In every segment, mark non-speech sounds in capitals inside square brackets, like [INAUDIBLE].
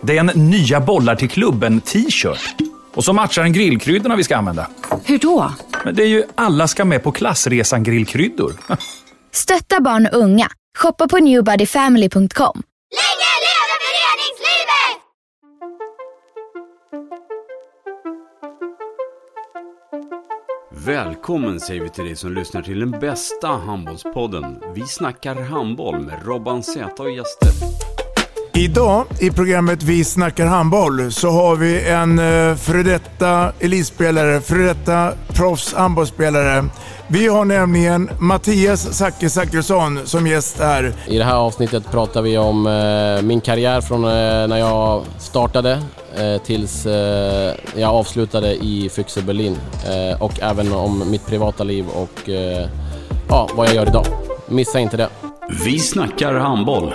Det är en nya bollar till klubben-t-shirt. Och så matchar den grillkryddorna vi ska använda. Hur då? Men det är ju alla ska med på klassresan grillkryddor. [LAUGHS] Stötta barn och unga. Shoppa på newbodyfamily.com. Länge leve föreningslivet! Välkommen säger vi till dig som lyssnar till den bästa handbollspodden. Vi snackar handboll med Robban Z och gäster. Idag i programmet Vi snackar handboll så har vi en eh, före detta elitspelare, före detta proffs handbollsspelare. Vi har nämligen Mattias Zacke Zachrisson som gäst här. I det här avsnittet pratar vi om eh, min karriär från eh, när jag startade eh, tills eh, jag avslutade i Füchse Berlin eh, och även om mitt privata liv och eh, ja, vad jag gör idag. Missa inte det. Vi snackar handboll.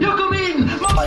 Jag kom in! Mamma,